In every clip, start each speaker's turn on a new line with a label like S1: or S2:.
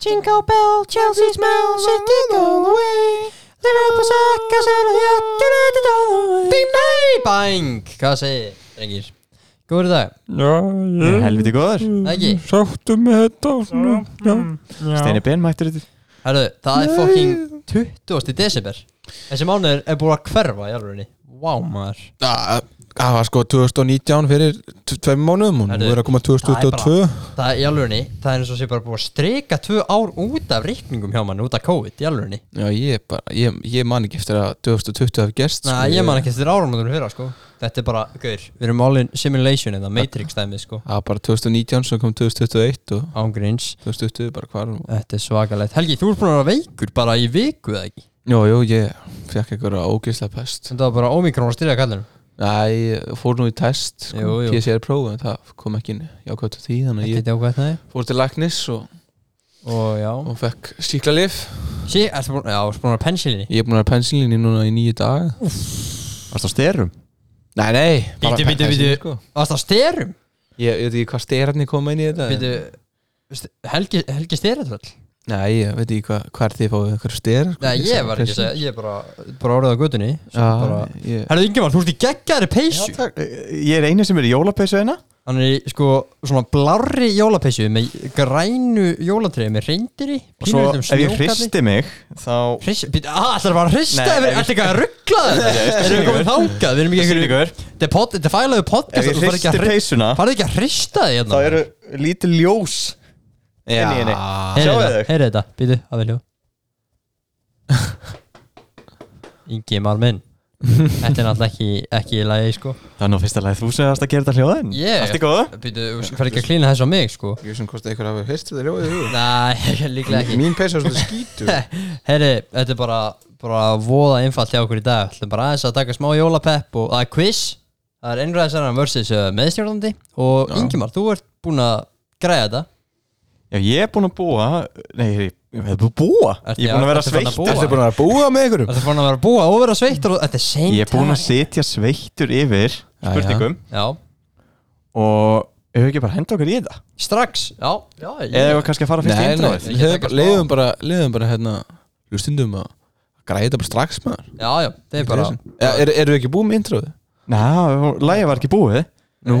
S1: Jingle bell, Chelsea smell, city go away Liverpool suck, að segja hjáttinu Bing, bang, bang Hvað segir, drengir? Góður dag,
S2: Já, ég
S3: Helviti góður
S1: ekki?
S2: sáttu með þetta og svona, já.
S3: Steini Ben mættur þetta
S1: Herðu, það er fucking 20. desember Þessi mánuður er búin að hverfa í alvörinni Vá maður
S2: Það það var sko 2019 fyrir t- tveim mánuðum og nú
S1: Herðu,
S2: er að koma
S1: það er bara-
S2: 2022
S1: Það er í alvörinni, það er eins og sé bara búin að streika tvö ár út af reikningum hjá mann út af COVID í alvörinni
S2: Já, ég, er bara, ég, ég man ekki eftir að 2020 hafi gerst sko,
S1: Næ, ég man ekki eftir áramótunum fyrra sko Þetta er bara, gaur, við erum all in simulation eða Matrix dæmið sko
S2: Það var bara 2019 sem kom 2021 og
S1: Ángríns
S2: 2020 bara hvar og-
S1: Þetta er svakalegt Helgi, þú ert búin að vera veikur bara í viku eða ekki
S2: Jó, jó, ég fekk einhverja ógeðslega pest
S1: Sem það var bara ómikrón að styrja kallinum
S2: Næ, ég fór nú í test sko,
S1: Jú, jú.
S2: PCR próf en það kom ekki inn jákvæmt á því þannig að
S1: Þetta
S2: ég
S1: er jákvæmt næði
S2: fór til læknis og,
S1: Og já
S2: og fekk síkla lif
S1: Sí, ertu búin, já, ertu búin að vera pensilinni
S2: Ég er búin að pensilinni núna í nýju dag
S3: Varst á styrum?
S2: Nei, nei bara
S1: Bíddu, bíddu,
S2: pensilín,
S1: bíddu.
S2: sko.
S1: Varst það styrum?
S2: Ég ég veit ekki hvað styrarni koma inn í þetta en-
S1: Býtu, Helgi, Helgi styratvöld
S2: Nei, ég veit ekki hvað, hvað er þið fáið einhver styrar sko,
S1: Nei, ég var ekki að segja Ég er bara, bara orðið á götunni
S2: Já,
S1: bara...
S2: ég,
S1: Herðu Ingemar, þú ert í geggjari peysu
S3: Ég er eini sem er í jólapeysu hérna. eina
S1: Hann er í sko svona blárri jólapeysu með grænu jólatriði með reyndiri
S3: Og svo ef ég hristi mig Þá
S1: Hrista, býta, að það var ah, að hrista
S3: Nei,
S1: yfir,
S3: ef ég-
S1: ertu ekki að ruggla það? Erum við komið þangað, við erum ekki einhverju
S3: Sýningur.
S1: Þetta er pod- þetta er fælaðu
S3: Ef
S1: podcast
S3: ég
S1: þú farið ekki að
S3: hristi
S1: hri-
S3: peysuna
S1: Farðu ekki að hrista þig
S3: Þá
S1: hérna
S3: eru lítið ljós
S2: Já.
S3: Inni í henni
S1: Ah, Heyrðu
S3: Sjáu
S1: þetta,
S3: þau
S1: heyrðu þetta, býtu, að veljú Ingi minn Þetta er náttúrulega ekki, ekki í lagi sko
S3: Það er nú fyrsta lagi þú sem varst að gera þetta hljóðin
S1: Ég-
S3: Allt í góðu
S1: Býtu, farðu ekki að klína þessu á mig sko
S2: ég sem kosti einhver að vera hristir það ljóðið hug
S1: Nei, líklega ekki
S2: Mín peysa er svona skítur
S1: Herri, þetta er bara, bara voða einfalt hjá okkur í dag Þetta er bara aðeins að taka smá jólapepp og það er quiz Það er einræðisarðan versus uh, meðstjórnandi og
S2: Já.
S1: Ingimar, þú ert búinn að græja þetta
S3: Já, ég er búinn að búa Nei, ég ég er búinn að búa
S1: Ertu-
S3: Ég er búinn að vera
S1: ertu farin að
S3: sveitt
S1: búa?
S2: Ertu búin að búa með einhverjum?
S1: Þetta er búinn að vera að búa og vera sveittur og þetta er same
S3: Ég er búinn að
S1: time.
S3: sitja sveittur yfir
S2: já.
S3: spurningum
S1: Já,
S3: og hefur ekki bara henda okkur í það
S1: strax, já, já ég-
S3: eða hefur kannski að fara fyrst í
S2: Nei, nei,
S3: introið
S1: Ég taka smá.
S2: leiðum bara leiðum bara hérna hlustundum að græða þetta bara strax maður
S1: Já, já, þetta er bara
S2: Lesen. Ja, er- Eru við ekki búið með introðu?
S3: Ná, lagið var ekki búið
S2: Nú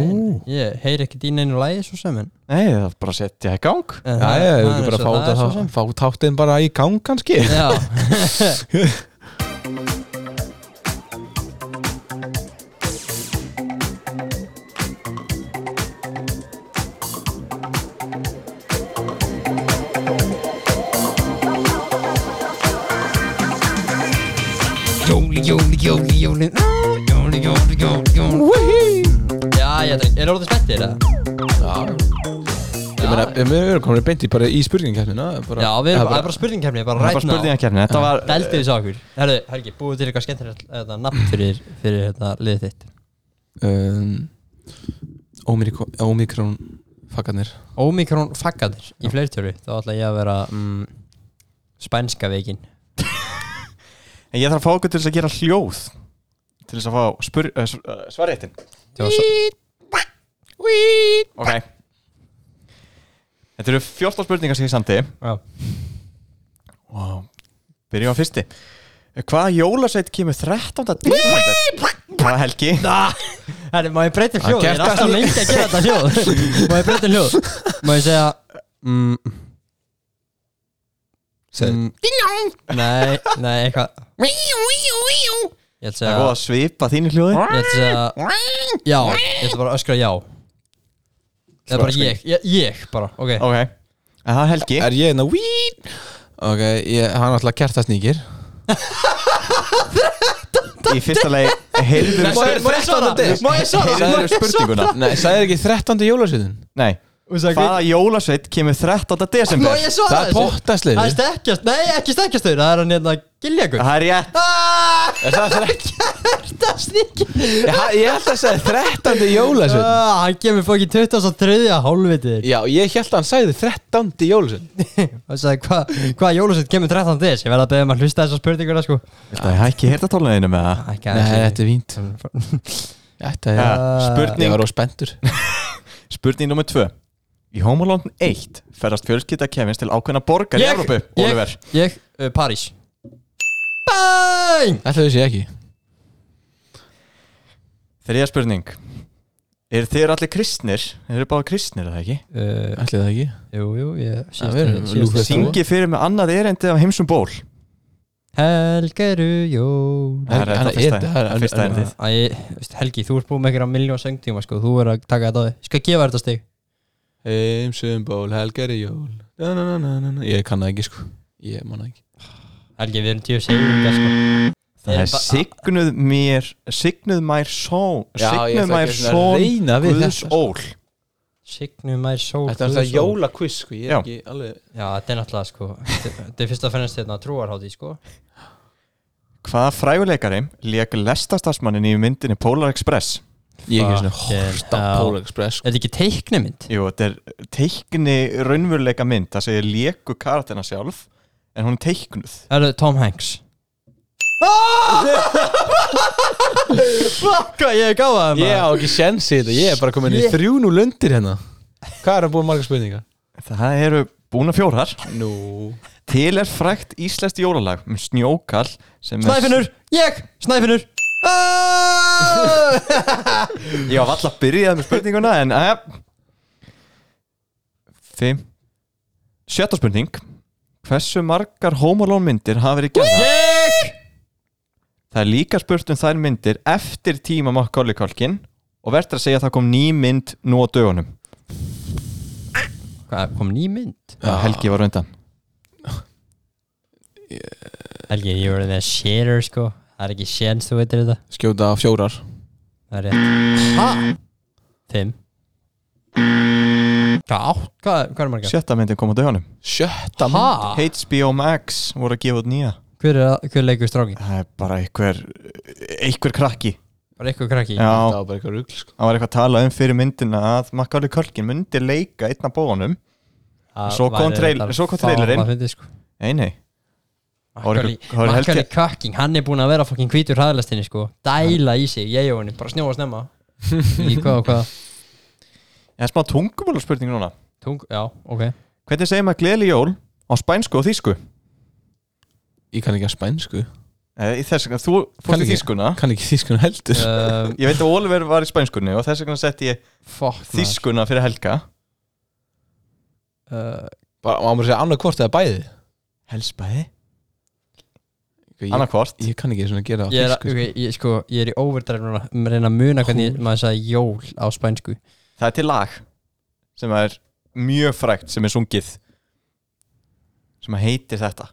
S1: Ég heyri ekki dín einu lægi svo sem en
S3: Nei, það er bara að setja í gang
S1: en
S2: Já,
S1: það- það
S2: já, við
S1: er
S2: ekki bara
S1: eins
S2: fá
S1: og það er
S2: þetta
S1: svo sem.
S2: þá- fá táttinn bara í gang kannski
S1: Já Jóli, jóli, jóli, jóli Jóli, jóli, jóli, jóli Já, já, dreng, er orðið spettir það?
S2: Já Ég meina,
S1: Já.
S2: við erum komin beint í bara í spurningkæmina
S1: Já, við erum bara, það er bara spurningkefni, bara hérna
S3: Það er bara
S1: right now
S3: spurningakefni, þetta var
S1: Dældi þessu okkur Herðu, Helgi, búið til eitthvað skemmtilegt þetta nafn fyrir, fyrir þetta liðið þitt
S2: um, Ómikron, ómikron Fakkarnir
S1: Omikron faggadir í fleirtölu Þá ætla ég að vera mm, Spænska veikin
S3: En ég þarf að fá okkur til þess að gera hljóð Til þess að fá spur, uh, s- uh, svaréttin
S1: Þú var svo-
S3: Ok Þetta eru 14 spurningar sem ég samti
S1: Já.
S3: wow. Byrjum á fyrsti Hvaða jólasveit kemur 13. desember? Hvað helgi?
S1: Ah, Herðu, má ég breyta um hljóð? Ég
S2: Hann
S1: er alltaf lengi að gera þetta hljóð Má ég breyta um hljóð? Má ég segja mm,
S2: Segðu.
S1: mm, Nei, nei, eitthvað Ég ætla að
S3: Það
S1: segja
S3: er góð að svipa þínu hljóði
S1: Ég ætla að segja Já, ég ætla bara að öskra já Það er bara
S3: Öskra.
S1: ég, ég, ég bara, ok
S3: Ok En það er helgi
S2: Er ég enn að vín? Ok, ég, hann ætla að kerta sníkir
S3: Í fyrsta lagi Heyrður
S1: Má ég- má ég svara? Má ég svara? Má ég
S3: Heyrður spurninguna
S2: Nei, sagði ekki 13. jólasviðin?
S3: Nei
S1: svara?
S3: Hvaða jólasveit kemur 13.
S1: Má
S3: desember?
S1: ég svara
S2: Það er
S1: þessu?
S2: pottastliði.
S1: Það er stekkjast, nei ekki stekkjast þau Það er hann hérna Ah! giljagur
S3: Það er rétt
S1: Það
S3: Það er rétt
S1: er snikki
S2: Ég, ég held að segja 13. jólasviðin
S1: Ah, Hann kemur fokkin 23. hálfvitir
S2: Já, ég held að hann sagði 13. jólasviðin
S1: Og sagði hvað hva jólusett kemur 13. des Ég verð að beða um að hlusta þessar spurninguna sko
S3: Það er ekki hérta tónleginni með það
S1: Ekki
S2: Nei, þetta er vínt Þetta er
S3: Ja,
S2: Ég
S3: Spurning,
S2: var á spendur
S3: spurning nummer tvö Í Home Alone 1 ferðast fjölskylda Kevins til ákveðna borgar í Evrópu, Oliver
S1: ég, ég uh, París Bang
S2: Ætlaði þessi ekki
S3: Þriðja spurning Er þeir allir kristnir? Er þeir báða kristnir eða ekki?
S1: uh,
S2: Ætlaði það ekki
S1: Jú, jú, ég
S2: Það verður Lúkas.
S1: síðast
S3: Syngi fyrir með annað erindi af heimsum ból
S1: Helgeru jól
S3: Það er þetta
S2: Hann- hann er-
S3: fyrsta-
S2: það er-
S3: fyrsta erindið
S1: Æ, veist, Helgi, þú ert búin með einhverja miljón söngtíma sko, þú verður að taka þetta á þig Ég skal gefa þér þetta stig
S2: Heimsum ból, helgar í jól na, na, na, na, na, na. Ég kann það ekki sko Ég man það ekki
S1: Helgi, við erum tíu segjum sko.
S3: Það
S1: Ég
S3: er
S1: er bara-
S3: signuð mér Signuð mær són Signuð
S2: ætla
S3: mær
S2: ekki svona að
S3: són
S2: reyna við
S3: Guðs
S2: þetta, sko.
S3: ól
S1: Signum mær sól
S2: Þetta er
S1: Guðs
S2: það
S1: sól.
S2: jólakviss sko Ég
S3: Já.
S2: er ekki alveg
S1: Já, þetta er náttúrulega sko þetta- Þetta er fyrst að fennast þetta trúarhátti sko
S3: Hvaða fræguleikari lék lestastarsmannin í myndinni Polar Express?
S2: Ég er svona
S1: Fucking
S2: horst á
S1: hell.
S2: Polar Express sko.
S1: Er þetta ekki teiknumynd?
S3: Jú, þetta er teikni raunveruleika mynd Það segir léku karakterna sjálf En hún er teiknuð
S1: Það eru Tom Hanks Fucka, ég gáði það
S2: Ég á ekki sjensi þetta Ég er bara komin í
S1: Shit.
S2: þrjú nú lundir hérna Hvað er að búið margar spurningar?
S3: Það eru búna fjórar
S2: Nú
S3: Til er frækt íslenskt jólalag um snjókall sem er-
S1: Snæfinnur, ég, Snæfinnur
S3: Ég var alltaf byrjað með spurninguna en aðja Fimm Sjötta spurning Hversu margar Home Alone myndir hafa verið gerða?
S1: Ég
S3: Það er líka spurt um þær myndir eftir tíma Macaulay Culkin og verður að segja að það kom ný mynd nú á dögunum
S1: Hvað, kom ný mynd?
S3: Já, Helgi var undan
S1: Helgi, ég voru þegar shitter sko Það er ekki séns þú veitir þetta
S2: Skjóta á fjórar
S1: Það er rétt Hæ? Fimm Hvað átt? Hvað, hvað er margar?
S3: Sjötta myndin kom á dögunum
S2: Sjötta
S1: Hæ?
S3: HBO Max voru að gefa út nýja
S1: Hver, er að- hver leikur strákin?
S3: Það er bara einhver einhver krakki
S1: Var eitthvað krakki?
S2: Það
S3: Já,
S2: var bara eitthvað rugl sko.
S3: það var eitthvað að tala um fyrir myndina að Macaulay Culkin myndi leika einn af bóðunum
S1: Það
S3: Svo kom
S1: væri
S3: trail-
S1: reyndar
S3: svo kom trailerinn.
S1: fáránlega fyndið, sko.
S3: Nei, nei Það var
S1: Makkali
S3: eitthvað- það var Helgi-
S1: kakking, hann er búinn að vera fokkin hvítur hraðlæstinni sko Dæla í sig, ég og henni, bara snjóa snemma Í hvað og hvað
S3: Það er smá tungumála spurning núna
S1: Tung, já, ok
S3: Hvernig segir maður gleðli jól á spænsku og þýsku?
S2: Ég kann ekki að spænsku
S3: Eh, í Þess vegna, þú fórst
S2: Kann
S3: í
S2: ekki.
S3: þýskuna
S2: Kann ekki þýskuna heldur
S1: um,
S3: Ég veit að Oliver var í spænskunni og þess vegna sett ég
S1: Fuck maður.
S3: þýskuna fyrir helga
S1: uh,
S2: Bara, Má maður segja annað hvort eða bæði
S3: Helsbæði?
S2: Ég,
S3: Annarkvort
S2: ég kann ekki svona gera á
S1: Ég er,
S2: þýsku
S1: okay, ég, sko, ég er í overdrive núna um að reyna að muna hvernig maður sagði jól á spænsku
S3: Það er til lag sem er mjög frægt sem er sungið sem að heitir þetta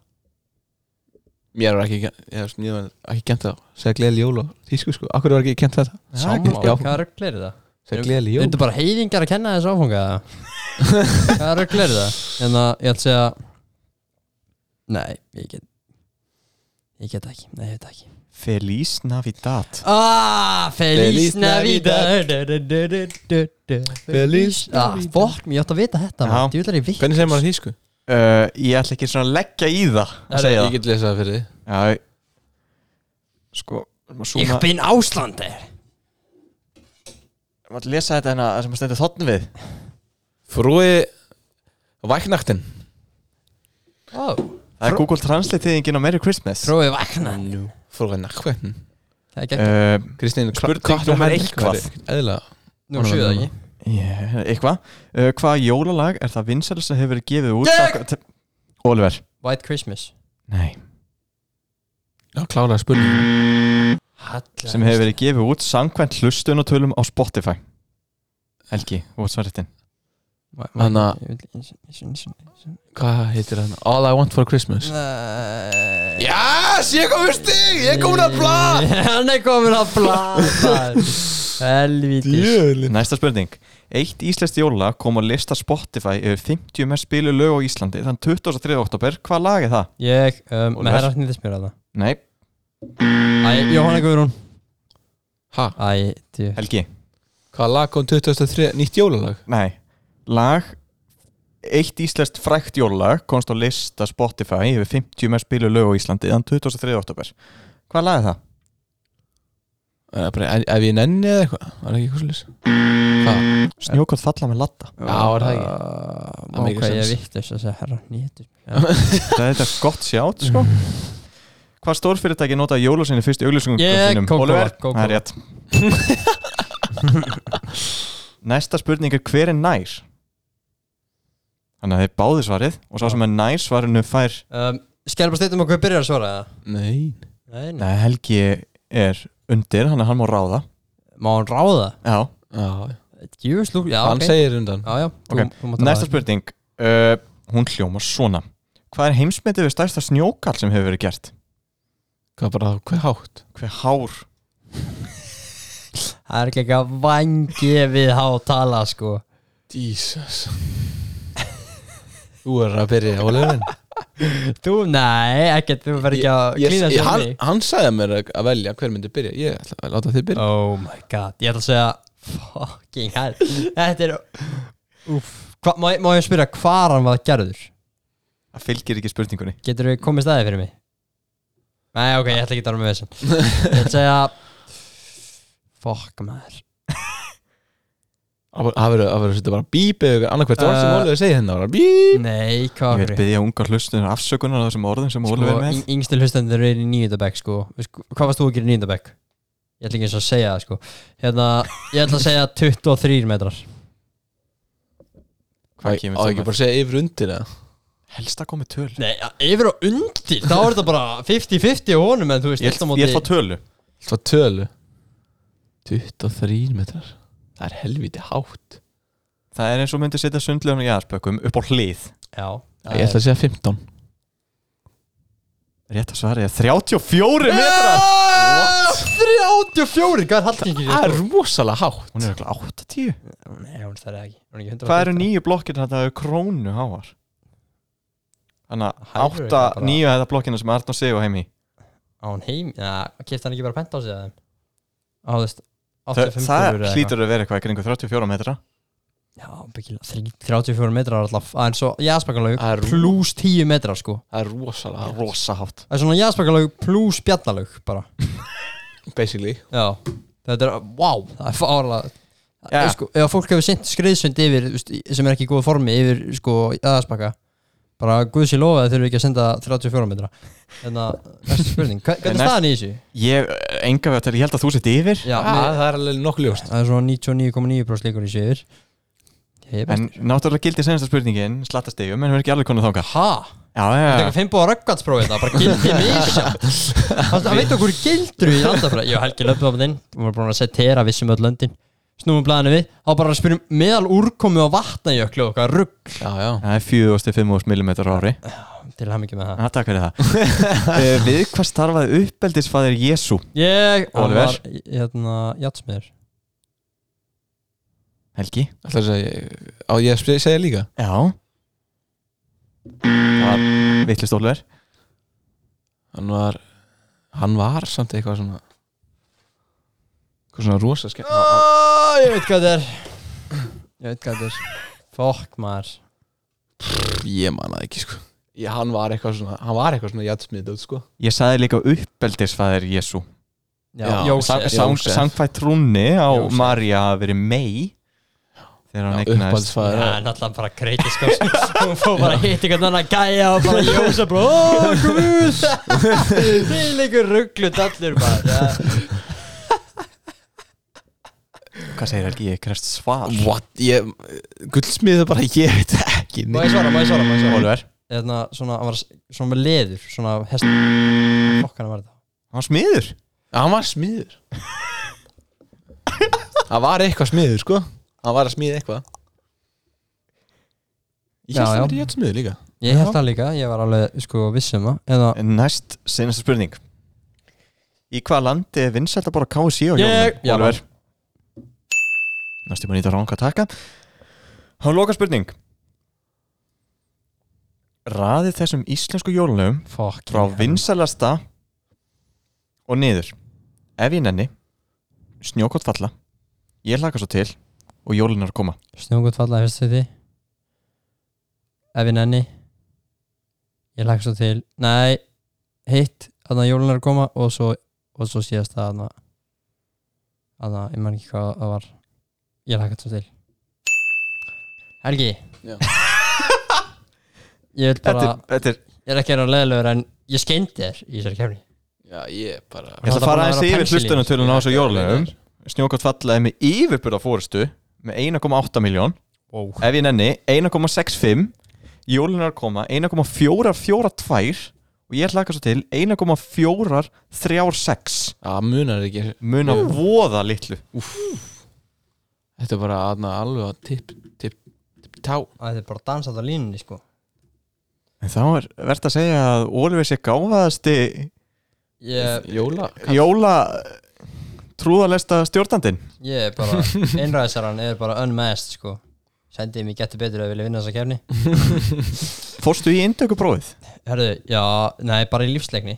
S2: Mér var ekki, ég var, ég var ekki kent að segja gleðli jól og þýsku sko Akkur var ekki kent þetta
S1: Sammála,
S2: já.
S1: hvað röggl er það?
S2: Segja gleðli
S1: Þú
S2: jól
S1: bara heiðingar að kenna þessu áfanga eða? Hvað röggl er það? En að ég ætla að segja Nei, ég get Ég get það ekki, nei, ég veit það ekki
S3: Feliz Navidad
S1: Ah, Feliz
S2: Feliz
S1: Navidad
S2: Navidad.
S1: Du, du, du, du, du.
S2: Feliz
S1: Ah, fokk, mér átt að vita þetta
S3: Já.
S1: maður. Djú, er ég vitt
S2: Hvernig segir maður á þýsku?
S3: uh, Ég ætla ekki svona að leggja í það að segja
S2: Ég
S3: það
S2: get lesað það fyrir þið
S3: Já, ég- Sko, maður
S1: Ég
S3: svona
S1: bin Áslander
S3: maður lesa þetta hérna sem að stendur þotn við
S2: Frúi Væknaktin
S1: oh.
S3: Það er Google Translate-þýðingin á Merry Christmas
S1: Tróið vakna
S2: Frúi Naktin
S1: Það er gegn
S3: uh,
S2: Kristín,
S3: Spurning númer eitthvað.
S2: Eðla
S1: Nú séu það ekki
S3: yeah, Eitthvað uh, Hvaða jólalag er það vinsæl sem hefur verið gefið út
S1: Gegn!
S3: samkvæmt- til- Oliver
S1: White Christmas
S3: Nei
S2: Já, klálega spurning
S1: Halla
S3: Sem hefur verið gefið út samkvæmt hlustunatölum á Spotify Helgi, þú ert svaritinn
S2: Hanna- Hvað heitir hann? All I want for Christmas
S1: Hann
S2: Yes, ég kom úr stig
S1: Hann er komin að blad Helvítis
S2: Djöðlin
S3: Næsta spurning Eitt íslenskt jóla kom á lista Spotify yfir 50 mest spilu lög á Íslandi þann 23. oktober, hvað lag er það?
S1: Ég, um,
S3: Oliver.
S1: með herra snýðis mér að
S3: Nei,
S1: það Æ, Jóhanna Guðrún
S2: Ha,
S1: Æ, djú
S3: Helgi
S2: hvað lag kom 2003? Nýtt jólalag
S3: Nei, lag Eitt íslenskt frækt jólalag komst á lista Spotify yfir 50 mest spilu lög á Íslandi þann 23. oktober Hvað lag er það?
S2: Eh, bara, ef, ef ég nenni eða eitthvað var það ekki eitthvað slis hvað,
S3: Snjókott falla með latta
S2: Já, er það ekki?
S1: Má
S2: Það make
S1: hvað ég
S2: sense.
S1: vitt þess að segja herra nýttu
S3: Það er þetta gott sjátt sko
S1: Mhm.
S3: Hvað stórfyrirtæki nota jólasinni fyrst í auglýsingum
S1: Yeah, Coca-Cola,
S3: Oliver,
S1: Coca-Cola.
S3: það er rétt Næsta spurning er hver er nær? Þannig að þið báði svarið og sá sem er nær svarinu fær
S1: um, Skerum bara steytum okkur byrjar að svara eða?
S2: nei
S1: Nei, nei
S3: Nei, Helgi er undir, hann, hann má ráða
S1: Má hann ráða?
S3: Já,
S2: já, já.
S1: Jús, lúk, já,
S2: hann
S1: ok
S2: segir undan
S1: Já, já, þú,
S3: Ok.
S1: þú mátt
S3: Næsta
S1: ráða.
S3: spurning uh, Hún hljóma svona Hvað er heimsmetið við stærsta snjókall sem hefur verið gert?
S2: hvað bara, hver hátt
S3: Hver hár?
S1: Það er ekki eitthvað vangi við há tala, sko
S2: Jesus þú er að byrja Ólefin
S1: Þú, nei, ekkert, þú verður ekki að klína
S2: ég,
S1: sér
S2: hann, hann sagði mér að að velja hver myndi byrja ég ætla að láta þið byrja
S1: Oh my god, ég ætla að segja Fucking hell Þetta er Úf, hva, má, ég- má ég spyrja hvar hann var gerður?
S3: Það fylgir ekki spurningunni
S1: Getur við komið staðið fyrir mig? Nei, ok, ég ætla ekki að tala með þessan Ég ætla að segja Fuck maður
S2: það verður það verður að setja bara bíp eða annarkvært orð sem
S1: Eh,
S2: Ólefin segir hérna bara bíp
S1: Nei, hvað
S3: Ég
S1: okkur
S3: vil byggja unga hlustunar afsökunar á þessum orðum sem Óli verið með
S1: sko, yngstil hlustendur eru í nýjöndabæk sko. Við sko, hvað varst þú að gera í nýjöndabæk? ég ætla ekki eins og að segja það sko. hérna, ég ætla að segja 23 metrar
S2: á
S3: Hvað
S2: ekki
S3: kemur það með?
S2: bara að segja yfir undir eða
S3: Helst að komi töl
S1: nei, yfir og undir, þá er þetta bara 50-50 á honum en þú veist
S3: Ég
S1: allt á
S3: ætl-
S1: móti-
S3: ég ætla að tölu
S2: Það tölu 23 metrar Það er helviti hátt
S3: Það er eins og myndi setja sundlegun í aðspökkum upp á hlið
S1: já,
S2: Ég ætla að segja 15
S3: Rétt að svara ég 34 metrar
S1: metrar 34, hvað er haldningi
S2: Það er rosalega hátt
S3: Hún er ekki 80
S1: nei, hún þarf ekki, hún er ekki 150
S3: Hvað eru nýju blokkir þetta er krónu háar? Þannig
S1: Hærri er
S3: að 8,
S1: það bara.
S3: 9 þetta blokkina sem Arnó Sigur heim í
S1: á hún heim, já, kipta hann ekki bara pent á sig að þeim á þú veist
S3: Það,
S1: 85
S3: það
S1: eða eitthvað.
S3: hlýtur að vera eitthvað í kringu 34 metra
S1: Já, byggilega, þrý- 34 metrar alltaf aðeins svo jaðspakalög
S2: Það er rú-
S1: pluss 10 metrar sko
S2: Það er rosalega hátt
S3: Rosahátt
S1: Það er svona jaðspakalög pluss bjallalög bara
S2: Basically
S1: Já, þetta er, wow, það er fárlega
S3: Já.
S1: yeah. sko, Ef fólk hefur sint skriðsund yfir þú veist, í- sem er ekki í góð formi yfir sko jaðspaka bara guðs ég lofa að þurfum ekki að senda 34 metra en að, næsta spurning, hva- hvernig
S3: Nei,
S1: er staðan í þessu?
S3: Ég, enga við þetta, ég held að þú sett yfir
S1: Já,
S2: ah,
S1: mér,
S2: Það er alveg nokkuð ljóst
S1: það er svona 99,9% líkur í þessu yfir Ég er
S3: En
S1: best
S3: náttúrulega gildi senasta spurningin Slattastegum, en við erum ekki alveg konið þánga
S1: Ha?
S3: Já, já,
S1: Það er
S3: já
S1: ekki fimm búið að röggvatsprófið það, bara gildi misjátt Það veit okkur gildur í landafræð Jó, Helgi löpum á þinn, við varum búin að setja tera vissum öll löndin Snúum blæðinu við, þá bara að spyrjum meðal úrkomi á vatnajöklu og hvað rugg
S2: Já, já
S3: Það er 4.5 mm ári
S1: Til hann ekki með það
S3: Já, takk fyrir það Eh, Við hvað starfaði uppeldisfæðir Jésu?
S1: Ég, hann
S3: Oliver.
S1: var, hérna, játsmiður
S3: Helgi?
S2: Það er að segja Á ég að sp- segja líka
S3: Já Það var vittlist Ólver
S2: Hann var Hann var samt eitthvað svona Eitthvað svona rosa skemmt
S1: oh, Ég veit hvað þetta er Ég veit hvað þetta er Fokk maður
S2: Ég man það ekki sko Ég, hann var eitthvað svona Hann var eitthvað svona jætsmið sko
S3: Ég sagði líka uppeldisfæðir Jésu
S1: Já,
S2: Já,
S1: Jósef
S2: sa- Jósef.
S3: Sangfætt trúnni á
S1: Jósef.
S3: Marja hafi verið mei Þegar hann
S2: Já,
S3: eignaðist
S1: Já,
S2: uppáhaldsfæður
S1: náttúrulega bara kreiti sko Hún fór bara að hitta einhvern annan gæja og bara jósa bara Ó, guð Þið líkur rugglu dallur bara Já,
S3: Hvað segir Helgi? Ég krefst svar
S2: What? Ég, gullsmiðu bara, ég veit ekki
S1: Má ég svara, má ég svara, má ég svara
S3: Ólver
S1: Þarna, Hérna, svona, hann var svona með leður Svona hest Fokkana var þetta
S3: Hann var smiður
S2: Hann var smiður Hann var eitthvað smiður sko Hann var að smíða eitthvað Ég
S1: Já,
S2: held
S1: já.
S2: að vera ég smiður líka
S1: Ég held það líka, ég var alveg sko vissum það Eða
S3: Næst senasta spurning Í hvaða landi er vinsælt að bara KSC og
S1: Ég-
S3: jólum? Oliver Næst ég maður nýta ránk að taka Há loka spurning Raðið þessum íslensku jólunum
S1: Fokk
S3: frá vinsælasta og niður Ef ég nenni snjókott falla ég hlaka svo til og jólun er að koma
S1: Snjóngut fallaði fyrst því Ef ég nenni Ég lagði svo til Nei, hitt Þannig að jólun er að koma Og svo, og svo síðast það að það, ég man ekki hvað það var ég lakka þetta til Helgi
S2: Já.
S1: ég vil
S3: Þetta
S1: bara,
S3: er- þetta er
S1: ég er ekki að vera leðilegur en ég skeindi þér í þessari kefni
S2: Já, ég
S3: Ég
S2: bara
S3: ætla að
S1: Það
S3: fara
S1: var
S3: aðeins
S1: bara
S3: yfir
S1: pensilín.
S3: hlustunartölun á þessu jólunum
S2: Nei.
S3: Snjókvæmt fallaði með yfirburða fórustu með 1,8 miljón
S1: wow.
S3: ef ég nenni 1,65 jólunar koma 1,442 og ég hlaka svo til 1,436
S2: Það munar ekki
S3: mun að voða litlu
S2: Þetta er bara aðna alveg að tipp, tipp, tipp, tá
S1: Það er bara dansað á línunni sko
S3: en þá er verðt að segja að Oliver sé gáfaðasti
S1: Ég,
S2: Jóla
S3: jóla trúðalesta stjórnandinn
S1: ég er bara, einræðisarann er bara unmasked sko Sendið mér getur betur að vilja vinna þessa kefni
S3: fórstu í indökuprófið?
S1: Herðu, já, nei, bara í lífsleikni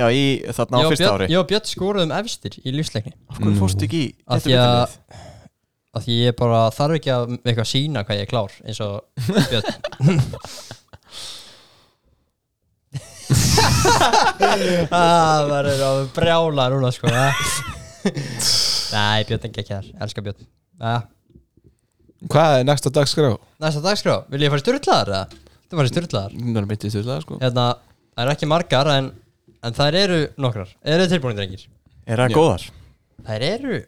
S3: Já, í þarna á
S1: Ég og
S3: fyrsta
S1: Björn-
S3: ári
S1: Ég og Björn skoruðum efstir í lífsleikni
S3: Af hverju fórstu ekki í
S1: Af því að-
S3: getur
S1: Af því ég bara þarf ekki að eitthvað sína hvað ég er klár eins og Björn ah, Það er að brjála núna sko ja. Nei, Björn ekki ekki þar, elska Björn ja.
S4: Hvað er næsta dagskrá?
S1: Næsta dagskrá, vil ég fara í styrlaðar eða? Þú fara í styrlaðar
S2: Það er mitt í stjórnlega sko
S1: Hérna, það eru ekki margar en, en þær eru nokkrar Eru þið tilbúinir engir?
S3: Er það góðar?
S1: Þær eru,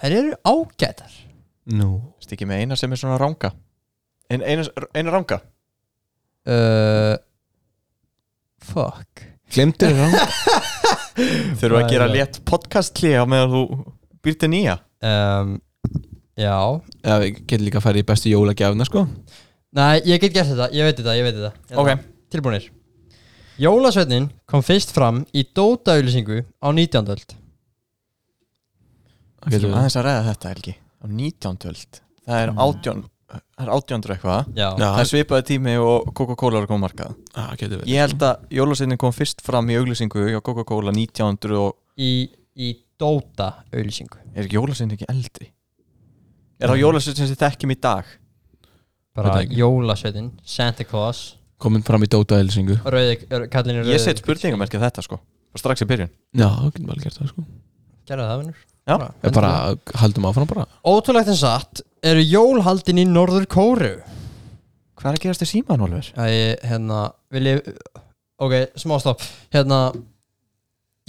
S1: þær eru ágætar
S3: Nú Stikki með eina sem er svona ranga Ein, eina, eina ranga
S1: uh, Fuck
S4: Glemdur þér hann?
S3: Þurfa að
S1: Það
S3: gera
S1: er-
S3: létt podcastkli á meðan þú býr til nýja
S1: um, Já
S2: Já, við getum líka að fara í bestu jólagjafna sko
S1: Nei, ég get gert þetta, ég veit þetta, ég veit þetta Hérna, Tilbúinir Jólasveitnin kom fyrst fram í Dóta-auðlýsingu á 19. öld
S2: Það getum við
S3: Aðeins að ræða þetta Helgi Á 19. öld Það er átjón Það er átjóndur eitthvað
S1: Já,
S2: Já.
S3: Það er svipaði tími og Coca-Cola er að koma markað
S2: Já, getum við
S3: Ég held að jólasinnin kom fyrst fram í auglýsingu hjá Coca-Cola 1900 og
S1: Í, í Dóta-auðlýsingu
S3: Er ekki jólasinn ekki eldri? Er þá jólasinn sem þið þekkjum í dag?
S1: Bara
S2: Veit það ekki.
S1: Jólasveitnin, Santa Claus
S2: Komin fram í Dóta Elsingu
S1: Rauði, er- kallinn er rauði
S3: Ég set spurningamerkja þetta sko Bara Strax í byrjun
S2: Já, getum við alveg gert það sko
S1: Gerðu það, vinnur
S3: Já.
S2: Ég bara, haldum áfram bara
S1: Ótrúlegt en satt Eru jól haldin í Norður Kóru?
S3: Hvað er að gerast í síman, Oliver?
S1: Æ, hérna, vil ég Ok, smá stopp Hérna